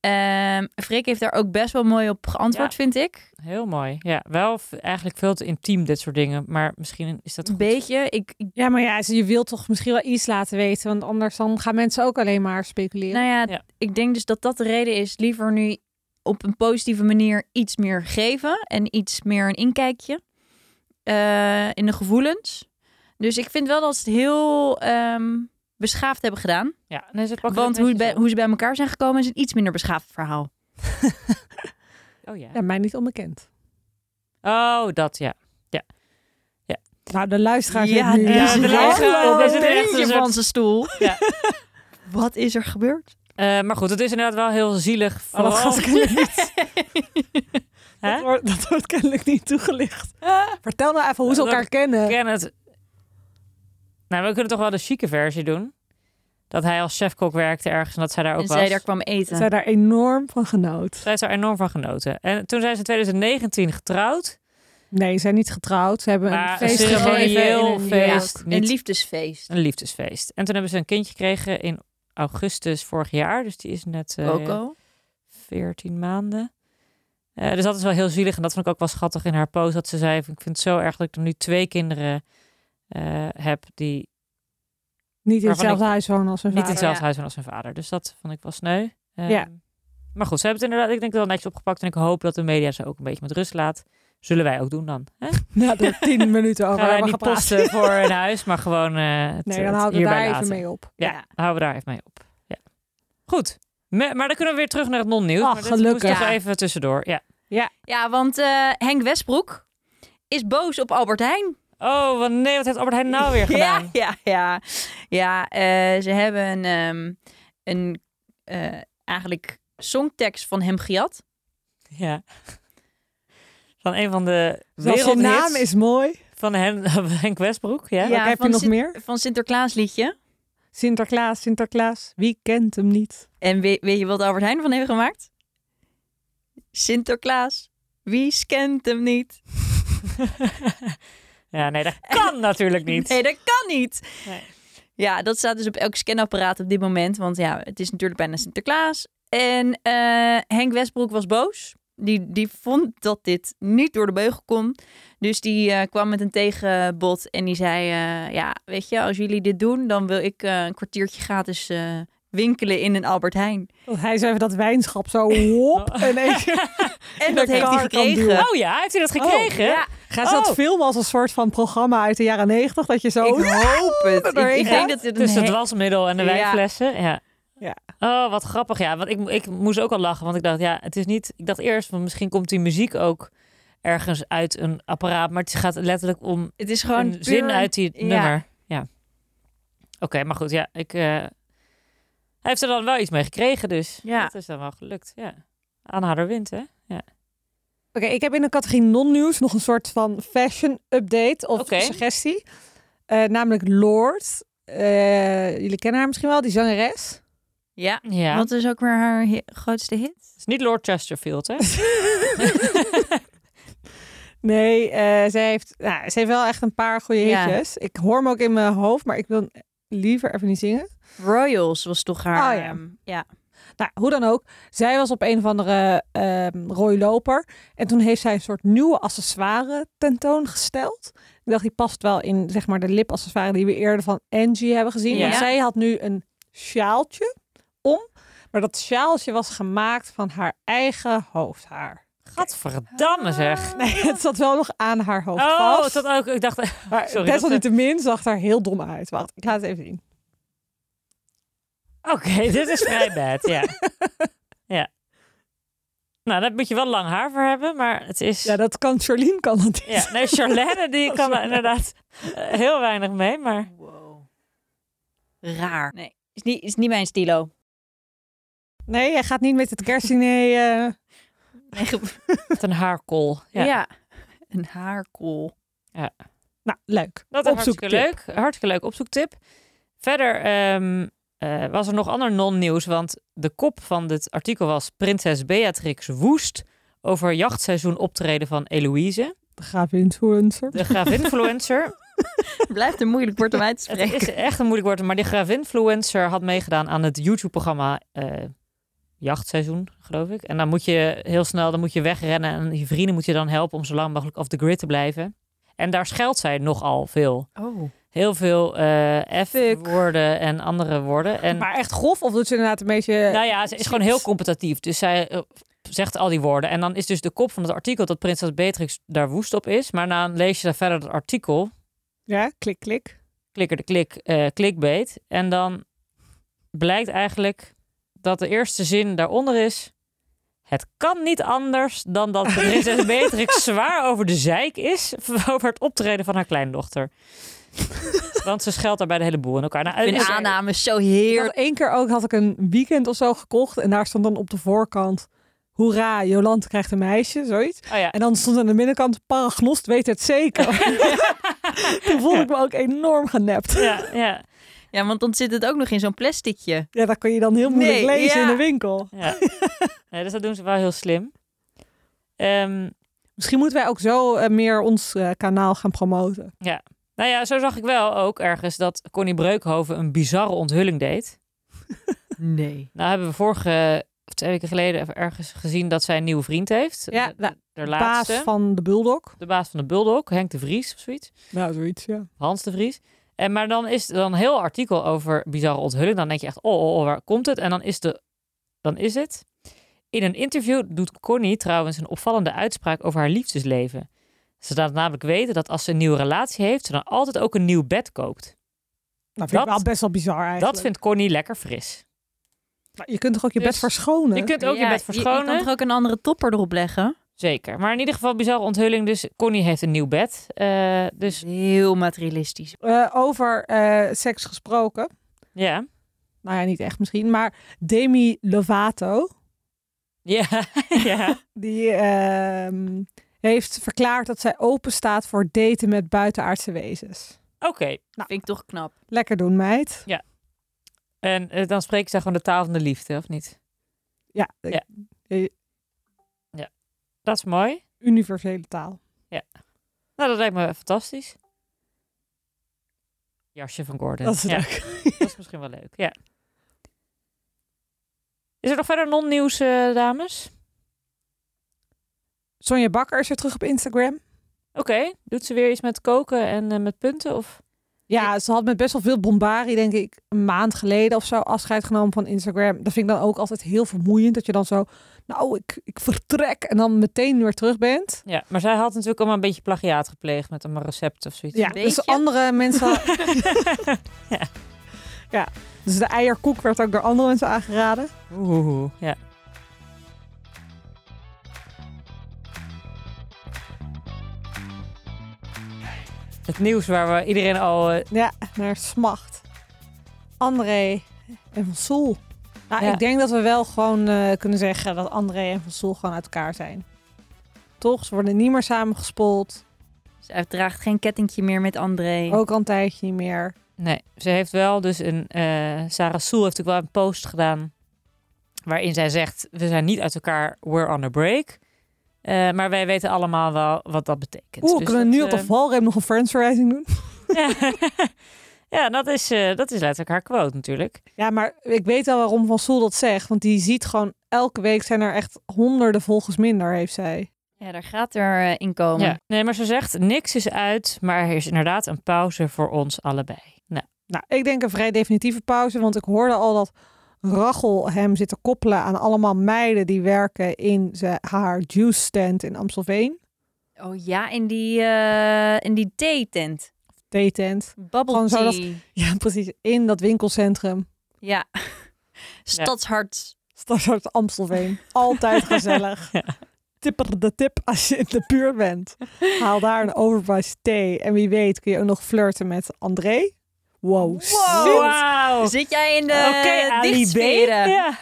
C: Ehm Freek heeft daar ook best wel mooi op geantwoord, vind ik.
B: Heel mooi. Ja, wel v- eigenlijk veel te intiem dit soort dingen, maar misschien is dat
C: Een
B: goed.
C: beetje. Ik,
A: Ja, maar ja, je wilt toch misschien wel iets laten weten, want anders dan gaan mensen ook alleen maar speculeren.
C: Nou ja,
B: Ja.
C: ik denk dus dat dat de reden is. Liever nu op een positieve manier iets meer geven en iets meer een inkijkje eh, in de gevoelens. Dus ik vind wel dat ze het heel ehm, beschaafd hebben gedaan.
B: Ja, nee, ze pakken
C: Want
B: het
C: hoe,
B: netjes
C: bij- hoe ze bij elkaar zijn gekomen is een iets minder beschaafd verhaal.
B: op. Oh ja.
A: Ja, mij niet onbekend.
B: Oh, dat ja.
A: Nou, de luisteraar
C: ja,
A: vindt nu...
B: ja, de
C: de
B: luisteraar-
C: op
B: dit is
C: oh, een
B: echt een
C: puntje
B: soort-
C: van zijn stoel.
B: Ja.
C: [laughs] Wat is er gebeurd?
B: Eh, maar goed, het is inderdaad wel heel zielig.
A: Oh, dat
B: Vooral-
A: gaat kennelijk niet.
B: Hè?
A: Dat, wordt, dat wordt kennelijk niet [laughs] toegelicht. Vertel nou even hoe ze
B: Dat-
A: elkaar kennen.
B: Ik ken het. Nou, we kunnen toch wel de chique versie doen. Dat hij als chefkok werkte ergens en dat zij daar ook
C: en
B: was.
C: zij daar kwam eten.
A: Zij daar enorm van genoot.
B: Zij heeft daar enorm van genoten. En toen zijn ze in 2019 getrouwd.
A: Nee, ze zijn niet getrouwd. Ze hebben
B: Maar
A: een feest
B: een
A: gegeven.
B: ceremonieel
A: in een-
B: feest.
C: een
B: niet-
C: liefdesfeest.
B: Een liefdesfeest. En toen hebben ze een kindje gekregen in augustus vorig jaar. Dus die is net eh,
C: Coco.
B: 14 maanden. Eh, dus dat is wel heel zielig. En dat vond ik ook wel schattig in haar post. Dat ze zei, ik vind het zo erg dat ik er nu twee kinderen eh, heb die
A: Niet in
B: Waarvan
A: hetzelfde huis wonen als hun
B: Niet in
A: vader.
B: hetzelfde
C: ja.
B: huis wonen als zijn vader. Dus dat vond ik wel sneu. Eh,
A: Ja.
B: Maar goed, ze hebben het inderdaad, ik denk wel netjes opgepakt. En ik hoop dat de media ze ook een beetje met rust laat. Zullen wij ook doen dan. Hè?
A: Na de tien minuten over
B: Gaan wij
A: Oh, hebben
B: niet
A: gepraat.
B: posten voor een huis, maar gewoon eh het,
A: [laughs] Nee, dan
B: het
A: houden we
B: hierbij
A: daar even
B: laten.
A: mee op.
B: Ja,
C: Ja.
B: houden we daar even mee op. Ja. Goed. Me- maar dan kunnen we weer terug naar het non-nieuws.
A: Ach,
B: maar dit
A: gelukkig.
B: moest toch
C: Ja.
B: even tussendoor. Ja.
C: Ja, want eh, Henk Westbroek is boos op Albert Heijn.
B: Oh, wat, nee, wat heeft Albert Heijn nou weer gedaan?
C: Ja, ja, ja. ja eh, ze hebben een, ehm, een eh, eigenlijk songtekst van hem gejat.
B: Ja. Van een van de
A: Zelfs zijn naam
B: wereldhits
A: is mooi.
B: van Hen- [laughs] Henk Westbroek. Ja.
C: Ja,
A: Wat heb je
C: van
A: nog
C: Sint-
A: meer?
C: Van Sinterklaas liedje.
A: Sinterklaas, Sinterklaas. Wie kent hem niet?
C: En weet, weet je wat Albert Heijn van heeft gemaakt? Sinterklaas. Wie scant hem niet?
B: ja, nee, dat kan natuurlijk niet.
C: Nee, dat kan niet.
B: Nee.
C: Ja, dat staat dus op elk scanapparaat op dit moment. Want ja, het is natuurlijk bijna Sinterklaas. En eh, Henk Westbroek was boos. Die, die vond dat dit niet door de beugel kon. Dus die eh, kwam met een tegenbod. En die zei, eh, ja, weet je, als jullie dit doen... dan wil ik eh, een kwartiertje gratis eh, winkelen in een Albert Heijn.
A: Want hij zei even dat wijnschap zo hop. En even,
C: En dat
A: De
C: heeft hij
A: kar kan
C: gekregen.
B: Oh ja, heeft hij dat gekregen?
C: Ja,
A: gaan ze dat
B: Oh.
A: filmen als een soort van programma uit de jaren negentig? Dat je zo...
C: ik
A: [laughs]
C: hoop het. Ik,
A: doorheen
C: ik
A: gaat.
C: denk dat dit een
B: Tussen het
C: he-
B: wasmiddel en de
C: Ja.
B: wijnflessen. Ja.
A: Ja.
B: Oh, wat grappig. Ja, want ik, ik moest ook al lachen. Want ik dacht, ja, het is niet. Ik dacht eerst, van misschien komt die muziek ook ergens uit een apparaat. Maar het gaat letterlijk om
C: Het is gewoon
B: een
C: puur
B: zin
C: een-
B: uit die
C: ja.
B: nummer. Ja. Oké, maar goed. Ja, ik. eh, hij heeft er dan wel iets mee gekregen, dus.
C: Ja.
B: Dat is dan wel gelukt. Ja. Aanhader wint, hè?
A: ik heb in de categorie non-nieuws nog een soort van fashion update of
B: Oké.
A: suggestie. Eh, namelijk Lord. Eh, jullie kennen haar misschien wel, die zangeres.
C: Ja.
B: Ja.
C: Wat is ook weer haar hi- grootste hit?
B: Het is niet Lord Chesterfield, hè? [laughs]
A: Nee, eh ze, heeft, nou, ze heeft wel echt een paar goede
C: Ja.
A: hitjes. Ik hoor hem ook in mijn hoofd, maar ik wil hem liever even niet zingen.
C: Royals was toch haar...
A: Oh ja.
C: ehm, ja.
A: Nou, hoe dan ook. Zij was op een of andere ehm rooiloper. En toen heeft zij een soort nieuwe accessoire tentoongesteld. Ik dacht, die past wel in zeg maar, de lipaccessoire die we eerder van Angie hebben gezien.
B: Ja.
A: Want zij had nu een sjaaltje om. Maar dat sjaaltje was gemaakt van haar eigen hoofdhaar. [laughs]
B: Gadverdamme zeg.
A: Nee, het zat wel nog aan haar hoofd
B: Oh,
A: vast.
B: dat ook. Ik dacht,
A: maar
B: sorry, dat- eh,
A: desalniettemin zag het er heel dom uit. Wacht, ik laat het even zien.
B: eh, oké, [laughs] dit is vrij bad, ja. ja. Nou, daar moet je wel lang haar voor hebben, maar het is...
A: Ja, dat kan Charlene kan dat niet.
B: Ja, nee, Charlène, die kan er inderdaad eh, heel weinig mee, maar...
C: Wow. Raar. Nee, is niet, is niet mijn
A: [laughs]
C: stilo.
A: Nee, jij gaat niet met het kerstdiner... eh,
B: Met een haarkool. Ja,
C: [laughs] ja. [laughs] Een [laughs] haarkool.
A: Nou, leuk.
B: dat is hartstikke
A: Opzoektip.
B: leuk. Hartstikke leuk opzoektip. Verder ehm, eh, was er nog ander non-nieuws, want de kop van dit artikel was... Prinses Beatrix woest over jachtseizoen optreden van Eloïse.
A: De graaf influencer.
B: De gravinfluencer.
C: Blijft een moeilijk woord om uit te [laughs]
B: Het
C: spreken.
B: is echt een moeilijk woord, maar die gravinfluencer had meegedaan aan het YouTube-programma eh, Jachtseizoen, geloof ik. En dan moet je heel snel, dan moet je wegrennen en je vrienden moet je dan helpen om zo lang mogelijk off the grid te blijven. En daar scheldt zij nogal veel.
C: Oh.
B: Heel veel eh F-woorden en andere woorden. En
A: Maar eh, echt grof? Of doet ze inderdaad een beetje...
B: nou ja, ze is gewoon heel competitief. Dus zij eh, zegt al die woorden. En dan is dus de kop van het artikel dat prinses Beatrix daar woest op is. Maar dan lees je daar verder het artikel
A: Ja, klik, klik.
B: klikker de klik, eh clickbait. En dan blijkt eigenlijk dat de eerste zin daaronder is... Het kan niet anders dan dat prinses Beatrix zwaar over de zeik is... [laughs] over het optreden van haar kleindochter. Want ze scheldt daarbij de hele boel in elkaar. Nou,
C: Ik vind
B: is-
C: aannames zo
A: Ik
C: heerlijk.
A: had één keer ook had ik een weekend of zo gekocht. En daar stond dan op de voorkant... Hoera, Jolante krijgt een meisje, zoiets.
B: oh ja.
A: En dan stond aan de binnenkant... Paragnost weet het zeker. Toen voelde ik me ook enorm [laughs] genept.
B: Ja, ja,
C: Ja, want dan zit het ook nog in zo'n plasticje.
A: Ja, dat kon je dan heel moeilijk
C: Nee,
A: lezen
C: ja.
A: in de winkel.
B: ja. Nee, dus dat doen ze wel heel slim. Ehm,
A: Misschien moeten wij ook zo eh, meer ons eh, kanaal gaan promoten.
B: nou ja, zo zag ik wel ook ergens dat Connie Breukhoven een bizarre onthulling deed.
C: Nee.
B: Nou hebben we vorige of twee weken geleden even ergens gezien dat zij een nieuwe vriend heeft.
A: Ja,
B: de,
A: nou,
B: de
A: Baas
B: laatste.
A: van de Bulldog.
B: De baas van de Bulldog, Henk de Vries of zoiets.
A: Nou, zoiets, ja.
B: Hans de Vries. En, maar dan is er dan een heel artikel over bizarre onthulling. Dan denk je echt, oh, oh, oh, waar komt het? En dan is, de, dan is het. In een interview doet Connie trouwens een opvallende uitspraak over haar liefdesleven. Ze laat namelijk weten dat als ze een nieuwe relatie heeft, ze dan altijd ook een nieuw bed koopt.
A: Dat vind
B: Dat-
A: ik wel best wel bizar eigenlijk.
B: Dat vindt Connie lekker fris.
A: Maar Je kunt toch ook je
B: Dus-
A: bed verschonen?
B: Je kunt ook je bed verschonen.
C: Je, kan toch ook een andere topper erop leggen?
B: Zeker. Maar in ieder geval bizarre onthulling. Dus Connie heeft een nieuw bed. Eh, dus
C: Heel materialistisch.
A: Eh, over eh, seks gesproken.
B: ja.
A: Nou ja, niet echt misschien. Maar Demi Lovato,
B: Ja. [laughs] ja.
A: die ehm, heeft verklaard dat zij open staat voor daten met buitenaardse wezens.
B: Oké.
C: Vind ik toch knap.
A: Lekker doen, meid.
B: En eh, dan spreken ze gewoon de taal van de liefde, of niet?
A: Ja, ik-
B: Ja. Dat is mooi.
A: universele taal.
B: Nou, dat lijkt me fantastisch. Jasje van Gordon.
A: Dat is
B: ja,
A: leuk.
B: [laughs] dat is misschien wel leuk. Ja. Is er nog verder non-nieuws, eh, dames?
A: Sonja Bakker is weer terug op Instagram.
B: Oké. Doet ze weer iets met koken en eh, met punten? Of...
A: Ja, ze had met best wel veel bombarie, denk ik, een maand geleden of zo afscheid genomen van Instagram. Dat vind ik dan ook altijd heel vermoeiend. Dat je dan zo, nou, ik, ik vertrek en dan meteen weer terug bent.
B: Ja, maar zij had natuurlijk allemaal een beetje plagiaat gepleegd met een recept of zoiets.
A: Ja,
C: beetje.
A: dus andere
B: [laughs]
A: mensen.
B: Ja.
A: [laughs] ja. ja, dus de eierkoek werd ook door andere mensen aangeraden.
B: Oeh, ja. Het nieuws waar we iedereen al... eh,
A: Ja, naar Smacht. André en Van Soel. Nou,
B: Ja.
A: ik denk dat we wel gewoon eh, kunnen zeggen dat André en Van Soel gewoon uit elkaar zijn. Toch? Ze worden niet meer samengespoeld.
C: Zij draagt geen kettingje meer met André.
A: Ook al een tijdje niet meer.
B: Nee, ze heeft wel dus een. eh Sarah Soel heeft ook wel een post gedaan. Waarin zij zegt: We zijn niet uit elkaar, we're on a break. Eh, maar wij weten allemaal wel wat dat betekent.
A: Oeh,
B: Dus
A: kunnen we
B: dat,
A: nu op de
B: eh,
A: valreep nog een friends verwijzing doen?
B: ja. [laughs] ja, dat is, eh, dat is letterlijk haar quote natuurlijk.
A: [laughs] Ja, maar ik weet al waarom Van Soel dat zegt. Want die ziet gewoon elke week zijn er echt honderden volgers minder, heeft zij.
C: Ja, daar gaat er eh, in komen.
B: Ja. Nee, maar ze zegt: Niks is uit, maar er is inderdaad een pauze voor ons allebei. Nou,
A: Nou, ik denk een vrij definitieve pauze. Want ik hoorde al dat Rachel hem zit te koppelen aan allemaal meiden die werken in ze, haar juice stand in Amstelveen.
C: Oh ja, in die, eh in die thee-tent.
A: Daytent.
C: Bubble
A: Gewoon zo
C: tea.
A: dat- [laughs] Ja, precies. In dat winkelcentrum.
C: Ja.
B: [laughs]
C: Stadshart.
A: Stadshart Amstelveen. Altijd gezellig. Tipper de tip als je in de buurt bent. Haal daar een overpriced thee. En wie weet kun je ook nog flirten met André. Wow,
C: Wow.
A: ziek.
B: Wauw. Oké,
C: Zit jij in de
B: Oh. Ali B.
C: dichtsferen?
B: Ja. [laughs]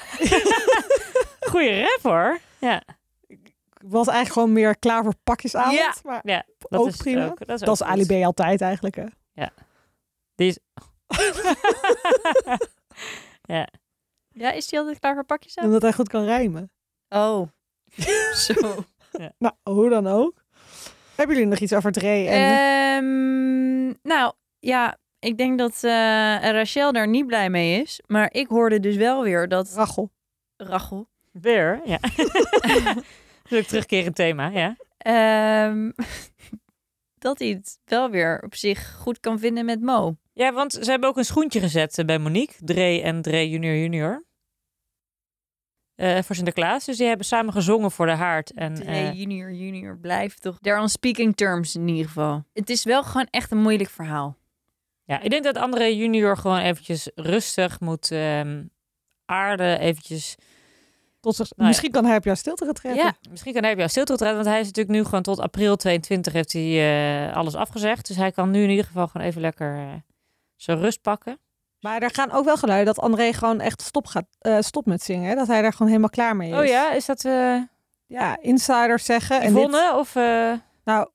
B: Goeie rap hoor. Ja,
A: Ik was eigenlijk gewoon meer klaar voor pakjesavond.
C: Ja.
A: Maar
B: ja dat
A: Ook
B: is
A: prima.
B: Ook, dat is,
A: dat is
B: ook
A: Ali
B: goed.
A: B altijd eigenlijk. Hè? [laughs]
C: Ja, is die altijd klaar voor pakjes aan?
A: Omdat hij goed kan rijmen.
B: [laughs]
C: Oh. zo.
A: Nou, hoe dan ook. Hebben jullie nog iets over Dre? En...
C: [laughs] Eh. Ehm, nou, ja, ik denk dat eh, Rachel daar niet blij mee is. Maar ik hoorde dus wel weer dat
A: Rachel.
C: Rachel...
B: Weer, ja. dat is ook terugkerend thema, ja.
C: ehm, [laughs] dat hij het wel weer op zich goed kan vinden met Mo.
B: Ja, want ze hebben ook een schoentje gezet eh, bij Monique, Dre en Dre junior junior. Eh, voor Sinterklaas. Dus die hebben samen gezongen voor de haard. En,
C: Nee,
B: eh,
C: junior, junior, blijf toch. They're on speaking terms in ieder geval. Het is wel gewoon echt een moeilijk verhaal.
B: ja, ik denk dat André junior gewoon eventjes rustig moet ehm, aarden. Eventjes.
A: Tot zich...
B: ja.
A: Misschien kan hij op jou stilte getrekken.
C: Ja.
B: Misschien kan hij op jou stil tot want hij is natuurlijk nu gewoon tot april 22 heeft hij eh, alles afgezegd. Dus hij kan nu in ieder geval gewoon even lekker eh, zijn rust pakken.
A: Maar er gaan ook wel geluiden dat André gewoon echt stop, gaat, eh stop met zingen. hè. Dat hij daar gewoon helemaal klaar mee is.
B: Oh ja, is dat eh
A: Ja, insiders zeggen. En
B: Yvonne
A: dit,
B: of... eh,
A: nou,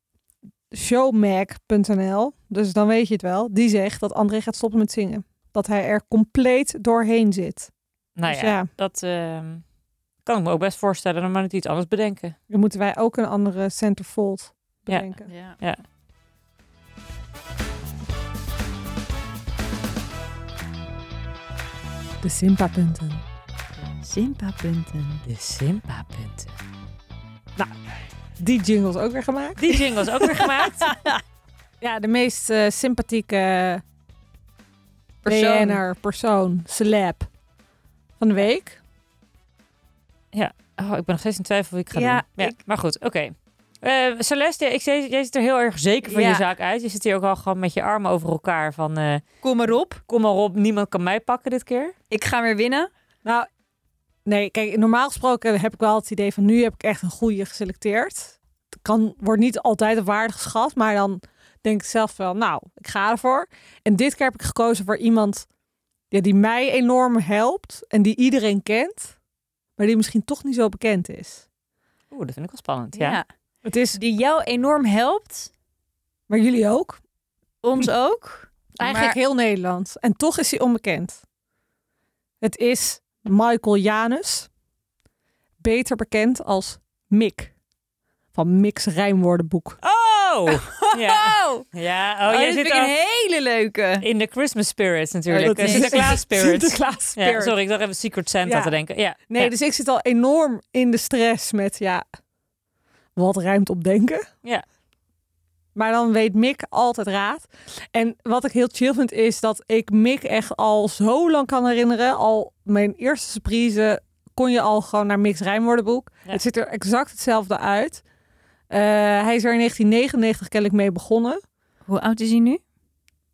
A: showmac.nl, dus dan weet je het wel. Die zegt dat André gaat stoppen met zingen. Dat hij er compleet doorheen zit.
B: Nou
A: Dus
B: ja,
A: ja,
B: dat ehm, kan ik me ook best voorstellen. Dan moet ik iets anders bedenken.
A: dan moeten wij ook een andere centerfold
B: Ja.
A: bedenken.
C: Ja.
A: De Simpa-punten.
C: Simpa-punten.
B: De Simpa-punten.
A: Die jingles ook weer gemaakt.
B: Die jingle is ook weer gemaakt.
A: Ja, de meest eh, sympathieke
C: Persoon.
A: BN'er, persoon, celeb van de week.
B: Oh, ik ben nog steeds in twijfel wie ik ga
C: Ja,
B: doen. Ja,
C: ik-
B: Maar goed, oké. Eh, Celeste, ik zie, jij ziet er heel erg zeker van
C: Ja.
B: je zaak uit. Je zit hier ook al gewoon met je armen over elkaar van... eh,
C: Kom maar op.
B: kom maar op, niemand kan mij pakken dit keer.
C: Ik ga weer winnen.
A: Nou, nee, kijk, normaal gesproken heb ik wel het idee van nu heb ik echt een goede geselecteerd. Het kan, wordt niet altijd op waarde geschat, maar dan denk ik zelf wel, nou, ik ga ervoor. En dit keer heb ik gekozen voor iemand ja, die mij enorm helpt en die iedereen kent, maar die misschien toch niet zo bekend is.
B: Oeh, dat vind ik wel spannend, ja.
A: Het is,
C: Die jou enorm helpt.
A: maar jullie ook,
C: [laughs] Ons ook.
A: Eigenlijk
C: Maar-
A: heel Nederland. En toch is hij onbekend. Het is Michael Janus. Beter bekend als Mick. Van Mick's Rijmwoordenboek.
C: [laughs]
B: Oh! ja.
C: Oh,
B: ja, oh,
C: oh,
B: jij zit
C: dit vind ik een
B: al
C: hele leuke.
B: in de Christmas spirit natuurlijk.
C: dat
B: De
A: [laughs]
C: is- [laughs]
B: Sinterklaas spirit.
A: Sinterklaas spirit.
B: Ja, sorry, ik dacht even Secret Santa
A: Ja.
B: te denken. Ja.
A: Nee,
B: ja.
A: dus ik zit al enorm in de stress met, ja, wat rijmt op denken?
B: Ja.
A: Maar dan weet Mick altijd raad. En wat ik heel chill vind is dat ik Mick echt al zo lang kan herinneren. Al mijn eerste surprise kon je al gewoon naar Mick's Rijmwoordenboek.
B: Ja.
A: Het ziet er exact hetzelfde uit. Eh, hij is er in 1999 kennelijk mee begonnen.
C: Hoe oud is hij nu?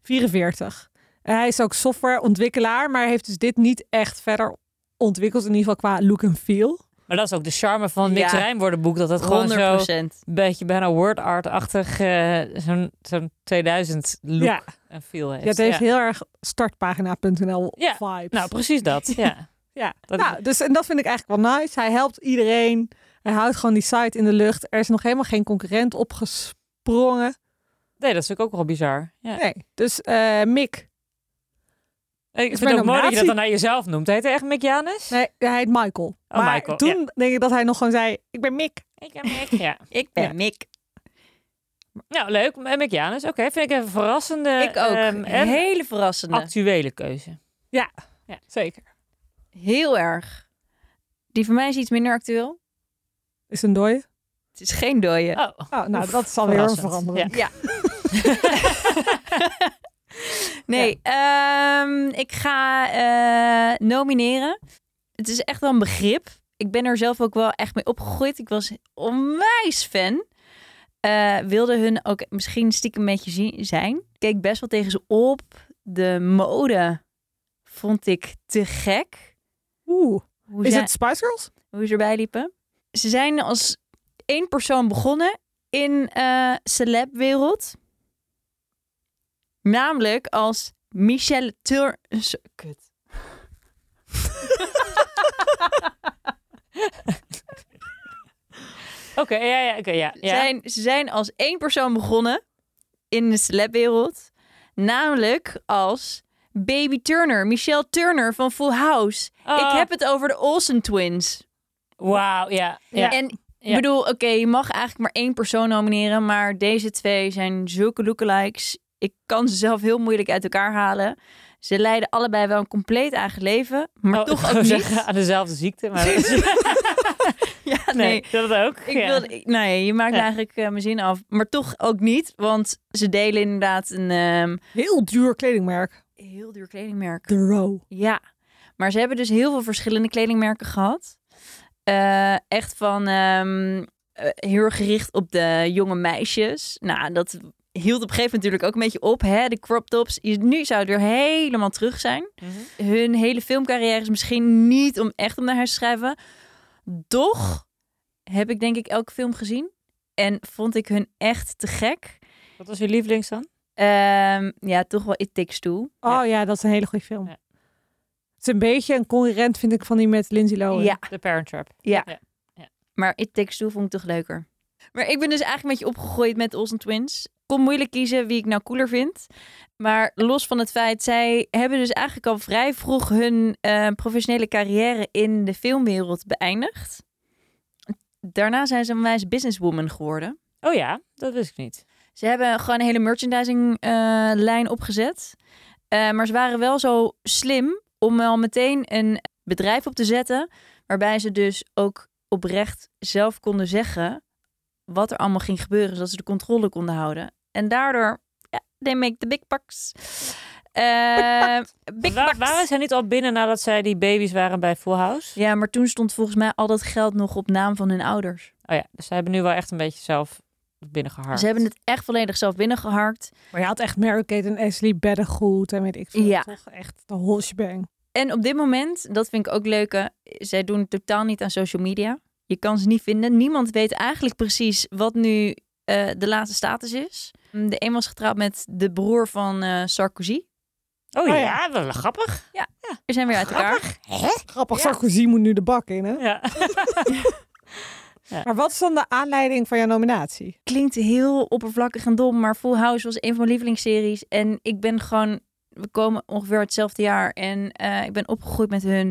A: 44. En hij is ook softwareontwikkelaar, maar heeft dus dit niet echt verder ontwikkeld. In ieder geval qua look en feel.
B: Maar dat is ook de charme van Nick
C: Ja.
B: Rijmwoordenboek. Dat het gewoon zo
C: 100%.
B: een beetje bijna word art-achtig eh, zo'n zo'n 2000 look
A: Ja.
B: en feel heeft.
A: Ja, het heeft
B: Ja.
A: heel erg startpagina.nl
B: Ja,
A: vibes.
B: Nou, precies dat. Ja.
A: [laughs] ja.
B: dat-
A: nou, dus, en dat vind ik eigenlijk wel nice. Hij helpt iedereen. Hij houdt gewoon die site in de lucht. Er is nog helemaal geen concurrent opgesprongen.
B: Nee, dat is natuurlijk ook wel bizar. Ja.
A: Nee, dus eh, Mick.
B: Ik
A: Is
B: vind
A: mijn
B: het ook mooi dat je
A: nominatie-
B: dat dan naar jezelf noemt. Heet hij echt Mick Janus?
A: Nee, hij heet Michael.
B: Oh,
A: maar
B: Michael,
A: toen denk ik dat hij nog gewoon zei, ik ben Mick.
B: Ik heb Mick, ja.
C: Ik
A: Ja.
C: ben Mick.
B: Nou, leuk. M- Mick Janus. Oké, vind ik een verrassende
C: Ik ook.
B: ehm, en
C: Hele verrassende.
B: actuele keuze.
A: Zeker.
C: Heel erg. Die van mij is iets minder actueel.
A: Is een dooie.
C: Het is geen dooie.
B: Oh.
A: Oh, nou,
B: Oef,
A: dat is alweer een
B: verrassend.
A: verandering.
C: Ja. nee, ehm, ik ga eh, nomineren. Het is echt wel een begrip. Ik ben er zelf ook wel echt mee opgegroeid. Ik was onwijs fan. Eh, wilde hun ook misschien stiekem een beetje zien, zijn. Ik keek best wel tegen ze op. De mode vond ik te gek.
A: Oeh,
C: Hoe
A: is
C: zij-
A: het Spice Girls?
C: hoe ze erbij liepen. Ze zijn als één persoon begonnen in eh celebwereld. Namelijk als Michelle Tur... S- Kut.
B: Oké, ja, ja, oké, ja. ja.
C: Zijn, ze zijn als één persoon begonnen in de celebwereld. Namelijk als Baby Turner, Michelle Turner van Full House.
B: Oh,
C: Ik heb het over de Olsen Twins.
B: Wauw, ja. ja.
C: En ik
B: Ja.
C: bedoel, oké, je mag eigenlijk maar één persoon nomineren, maar deze twee zijn zulke lookalikes. Ik kan ze zelf heel moeilijk uit elkaar halen. Ze leiden allebei wel een compleet eigen leven, maar
B: Oh, ik
C: toch
B: wou
C: ook
B: zeggen,
C: niet.
B: aan dezelfde ziekte, maar dat is-
C: [laughs] Ja,
B: [laughs]
C: nee.
B: nee, dat ook.
C: Ik
B: ja.
C: wil, ik- nee, je maakt
B: Ja.
C: eigenlijk eh, mijn zin af, maar toch ook niet, want ze delen inderdaad een ehm,
A: Heel duur kledingmerk. Oh
C: heel duur kledingmerk.
A: The Row.
C: Ja, maar ze hebben dus heel veel verschillende kledingmerken gehad. Eh, echt van ehm, eh, heel erg gericht op de jonge meisjes. Nou, dat hield op een gegeven moment natuurlijk ook een beetje op. Hè? De crop tops. Je- Nu zou het weer helemaal terug zijn.
B: Mhm.
C: Hun hele filmcarrière is misschien niet om echt om naar huis te schrijven. Doch heb ik denk ik elke film gezien. En vond ik hun echt te gek.
B: Wat was uw lievelings dan?
C: Ehm, ja, toch wel It Takes Two.
A: Oh
B: Ja.
A: ja, dat is een hele goede film.
B: Ja.
A: Het is een beetje een concurrent, vind ik, van die met Lindsay Lohan.
C: ja,
B: The Parent Trap.
C: Maar It Takes Two vond ik toch leuker. Maar ik ben dus eigenlijk een beetje opgegroeid met Olsen Twins. Kon moeilijk kiezen wie ik nou cooler vind. Maar los van het feit, zij hebben dus eigenlijk al vrij vroeg hun eh, professionele carrière in de filmwereld beëindigd. Daarna zijn ze een wijs businesswoman geworden.
B: Oh ja, dat wist ik niet.
C: Ze hebben gewoon een hele merchandising eh, lijn opgezet. Eh, maar ze waren wel zo slim om wel meteen een bedrijf op te zetten. Waarbij ze dus ook oprecht zelf konden zeggen wat er allemaal ging gebeuren. Zodat ze de controle konden houden. En daardoor, ja, they make the big bucks. Eh, big
B: Wa-
C: bucks.
B: waren zij niet al binnen nadat zij die baby's waren bij Full House?
C: Ja, maar toen stond volgens mij al dat geld nog op naam van hun ouders.
B: Oh ja, dus zij hebben nu wel echt een beetje zelf binnengeharkt.
C: Ze hebben het echt volledig zelf binnengeharkt.
A: Maar je had echt Mary-Kate en Ashley beddengoed en weet ik veel.
C: Ja.
A: Toch echt de whole shebang.
C: En op dit moment, dat vind ik ook leuk, zij doen totaal niet aan social media. Je kan ze niet vinden. Niemand weet eigenlijk precies wat nu eh, de laatste status is. De een was getrouwd met de broer van eh, Sarkozy.
B: Oh,
A: Oh
B: ja,
A: ja.
B: wel grappig.
C: We zijn weer uit elkaar.
A: Grappig,
B: Ja.
A: Sarkozy moet nu de bak in, hè?
B: Ja.
A: Maar wat is dan de aanleiding van jouw nominatie?
C: Klinkt heel oppervlakkig en dom, maar Full House was een van mijn lievelingsseries. En ik ben gewoon, we komen ongeveer hetzelfde jaar. En eh, ik ben opgegroeid met hun.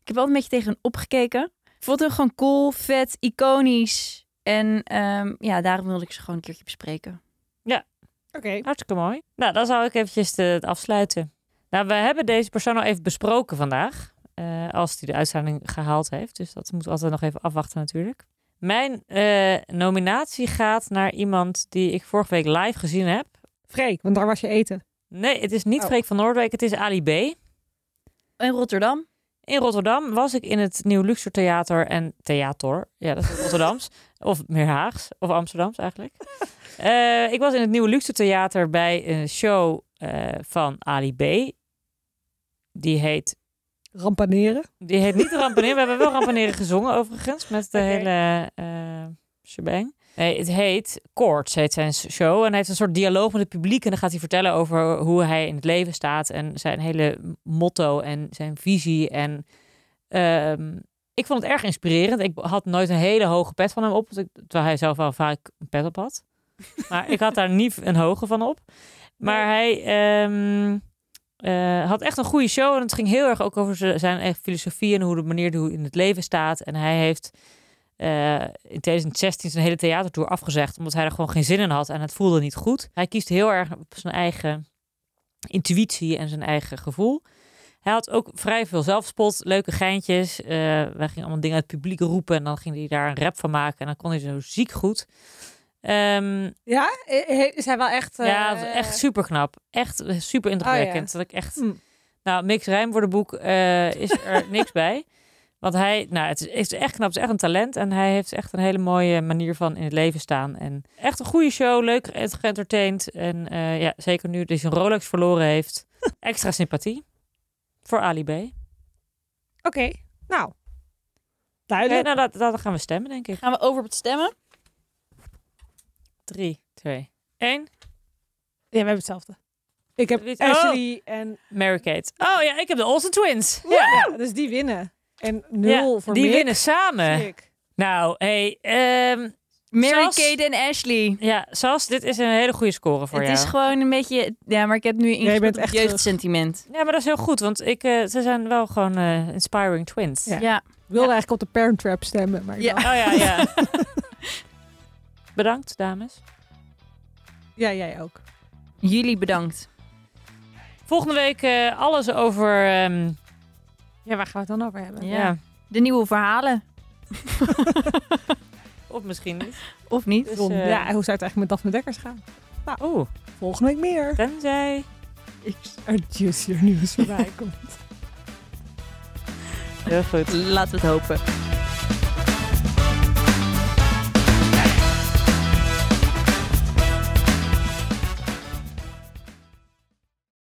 C: Ik heb wel een beetje tegen hun opgekeken. Ik vond hun gewoon cool, vet, iconisch. En ehm, ja, daarom wilde ik ze gewoon een keertje bespreken.
A: Oké.
B: Hartstikke mooi. Nou, dan zou ik eventjes de- het afsluiten. Nou, we hebben deze persoon al even besproken vandaag. eh, als hij de uitzending gehaald heeft. Dus dat moeten we altijd nog even afwachten natuurlijk. Mijn eh, nominatie gaat naar iemand die ik vorige week live gezien heb.
A: Freek, want daar was je eten.
B: Nee, het is niet
A: Oh.
B: Freek van Noordwijk. Het is Ali B.
C: In Rotterdam.
B: In Rotterdam was ik in het Nieuw Luxor Theater en Theater, ja, dat is Rotterdams, of meer Haags, of Amsterdams eigenlijk. Eh, ik was in het Nieuw Luxor Theater bij een show eh, van Ali B. Die heet,
A: Rampaneren.
B: die heet niet Rampaneren, we hebben wel Rampaneren gezongen overigens, met de
A: Oké.
B: hele eh shebang. Nee, het heet Koorts, heet zijn show. En hij heeft een soort dialoog met het publiek. En dan gaat hij vertellen over hoe hij in het leven staat. En zijn hele motto en zijn visie. En ehm, ik vond het erg inspirerend. Ik had nooit een hele hoge pet van hem op. want ik- Terwijl hij zelf wel vaak een pet op had. Maar ik had daar niet een hoge van op. Maar hij ehm, eh, had echt een goede show. En het ging heel erg ook over ze- zijn eigen filosofie en hoe de manier hoe hij in het leven staat. En hij heeft eh, in 2016 zijn hele theatertour afgezegd. Omdat hij er gewoon geen zin in had en het voelde niet goed. Hij kiest heel erg op zijn eigen intuïtie en zijn eigen gevoel. Hij had ook vrij veel zelfspot, leuke geintjes. Eh, wij gingen allemaal dingen uit het publiek roepen. En dan ging hij daar een rap van maken. En dan kon hij zo ziek goed. Ehm,
A: Ja, He- he- is hij wel echt... eh, Oh
B: ja, het was echt super knap. Echt eh, super indrukwekkend. Dat ik echt.
A: Hm.
B: Nou, Mix Rijmwoordenboek eh is
A: [laughs]
B: er niks bij. Want hij, nou, het is, het is echt knap. Het is echt een talent. En hij heeft echt een hele mooie manier van in het leven staan. En echt een goede show. Leuk en geëntertaind. En eh, ja, zeker nu dat hij zijn Rolex verloren
A: [laughs]
B: heeft. Extra sympathie. Voor Ali B.
A: Oké, nou.
B: Oké,
A: Duidelijk.
B: nou, dat, dat gaan we stemmen, denk ik.
C: Gaan we over op het stemmen?
B: Drie, twee, één.
A: Ja, we hebben hetzelfde. Ik heb
B: Weet-
A: Ashley
B: Oh.
A: en...
B: Mary-Kate. Oh ja, ik heb de Olsen Twins.
A: Ja. dus die winnen. En nul
B: Ja,
A: voor
B: die
A: Mick,
B: winnen samen.
A: zie ik.
B: Nou, hey, ehm,
C: Mary
B: Sas.
C: Kate en Ashley.
B: ja, Sas, dit is een hele goede score voor
C: het
B: jou.
C: is gewoon een beetje... Ja, maar ik heb nu
A: bent
C: ingespeeld op
A: echt
C: het jeugdsentiment.
B: Ja, maar dat is heel goed, want ik, eh, ze zijn wel gewoon eh, inspiring twins.
A: Ja.
C: Ja.
A: Ik wilde eigenlijk op de Parent Trap stemmen, maar ik
C: Ja.
A: dacht-
B: Oh ja, ja. Bedankt, dames.
A: ja, jij ook.
C: Jullie bedankt.
B: Volgende week eh, alles over... ehm,
A: Ja, waar gaan we het dan over hebben?
B: ja.
C: Ja. De nieuwe verhalen.
B: Of misschien niet.
C: Of niet?
B: Dus,
A: Ron,
B: eh,
A: ja, hoe zou het eigenlijk met Daphne Dekkers gaan?
B: Oeh,
A: Volgende week [laughs] meer.
B: tenzij...
A: Er juicier nieuws voorbij komt.
B: Heel goed.
C: Laten we het hopen.